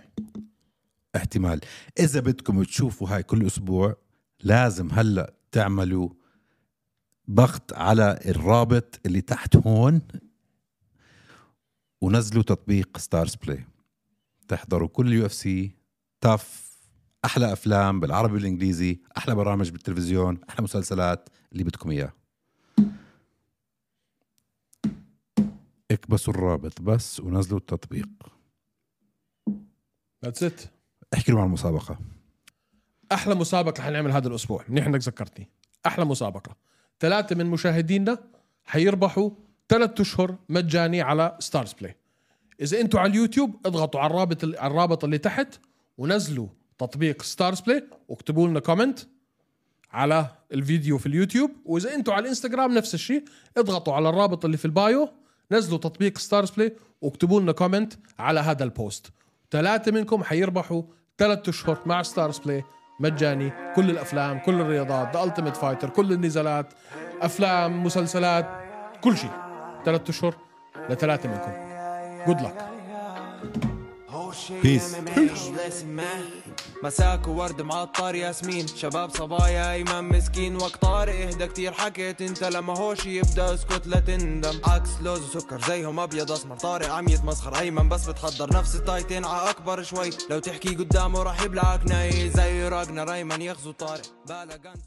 Speaker 2: احتمال اذا بدكم تشوفوا هاي كل اسبوع لازم هلا تعملوا ضغط على الرابط اللي تحت هون ونزلوا تطبيق ستارز بلاي تحضروا كل يو اف سي تاف احلى افلام بالعربي والانجليزي احلى برامج بالتلفزيون احلى مسلسلات اللي بدكم اياه اكبسوا الرابط بس ونزلوا التطبيق
Speaker 1: ذاتس ات
Speaker 2: احكي لهم عن المسابقه
Speaker 1: احلى مسابقه حنعمل هذا الاسبوع منيح انك ذكرتني احلى مسابقه ثلاثه من مشاهدينا حيربحوا ثلاثة اشهر مجاني على ستارز بلاي اذا انتوا على اليوتيوب اضغطوا على الرابط على الرابط اللي تحت ونزلوا تطبيق ستارز بلاي واكتبوا لنا كومنت على الفيديو في اليوتيوب واذا انتم على الانستغرام نفس الشيء اضغطوا على الرابط اللي في البايو نزلوا تطبيق ستارز بلاي واكتبوا لنا كومنت على هذا البوست ثلاثة منكم حيربحوا ثلاث اشهر مع ستارز بلاي مجاني كل الافلام كل الرياضات ذا التيميت فايتر كل النزالات افلام مسلسلات كل شيء ثلاث اشهر لثلاثة منكم جود لك
Speaker 2: Peace.
Speaker 3: مساك وورد معطر ياسمين شباب صبايا ايمن مسكين وقت طارق اهدى كتير حكيت انت لما هوش يبدا اسكت لا تندم عكس لوز وسكر زيهم ابيض اسمر طارق عم يتمسخر ايمن بس بتحضر نفس التايتين ع اكبر شوي لو تحكي قدامه راح يبلعك ناي زي راجنا ريمان يغزو طارق بالا غنز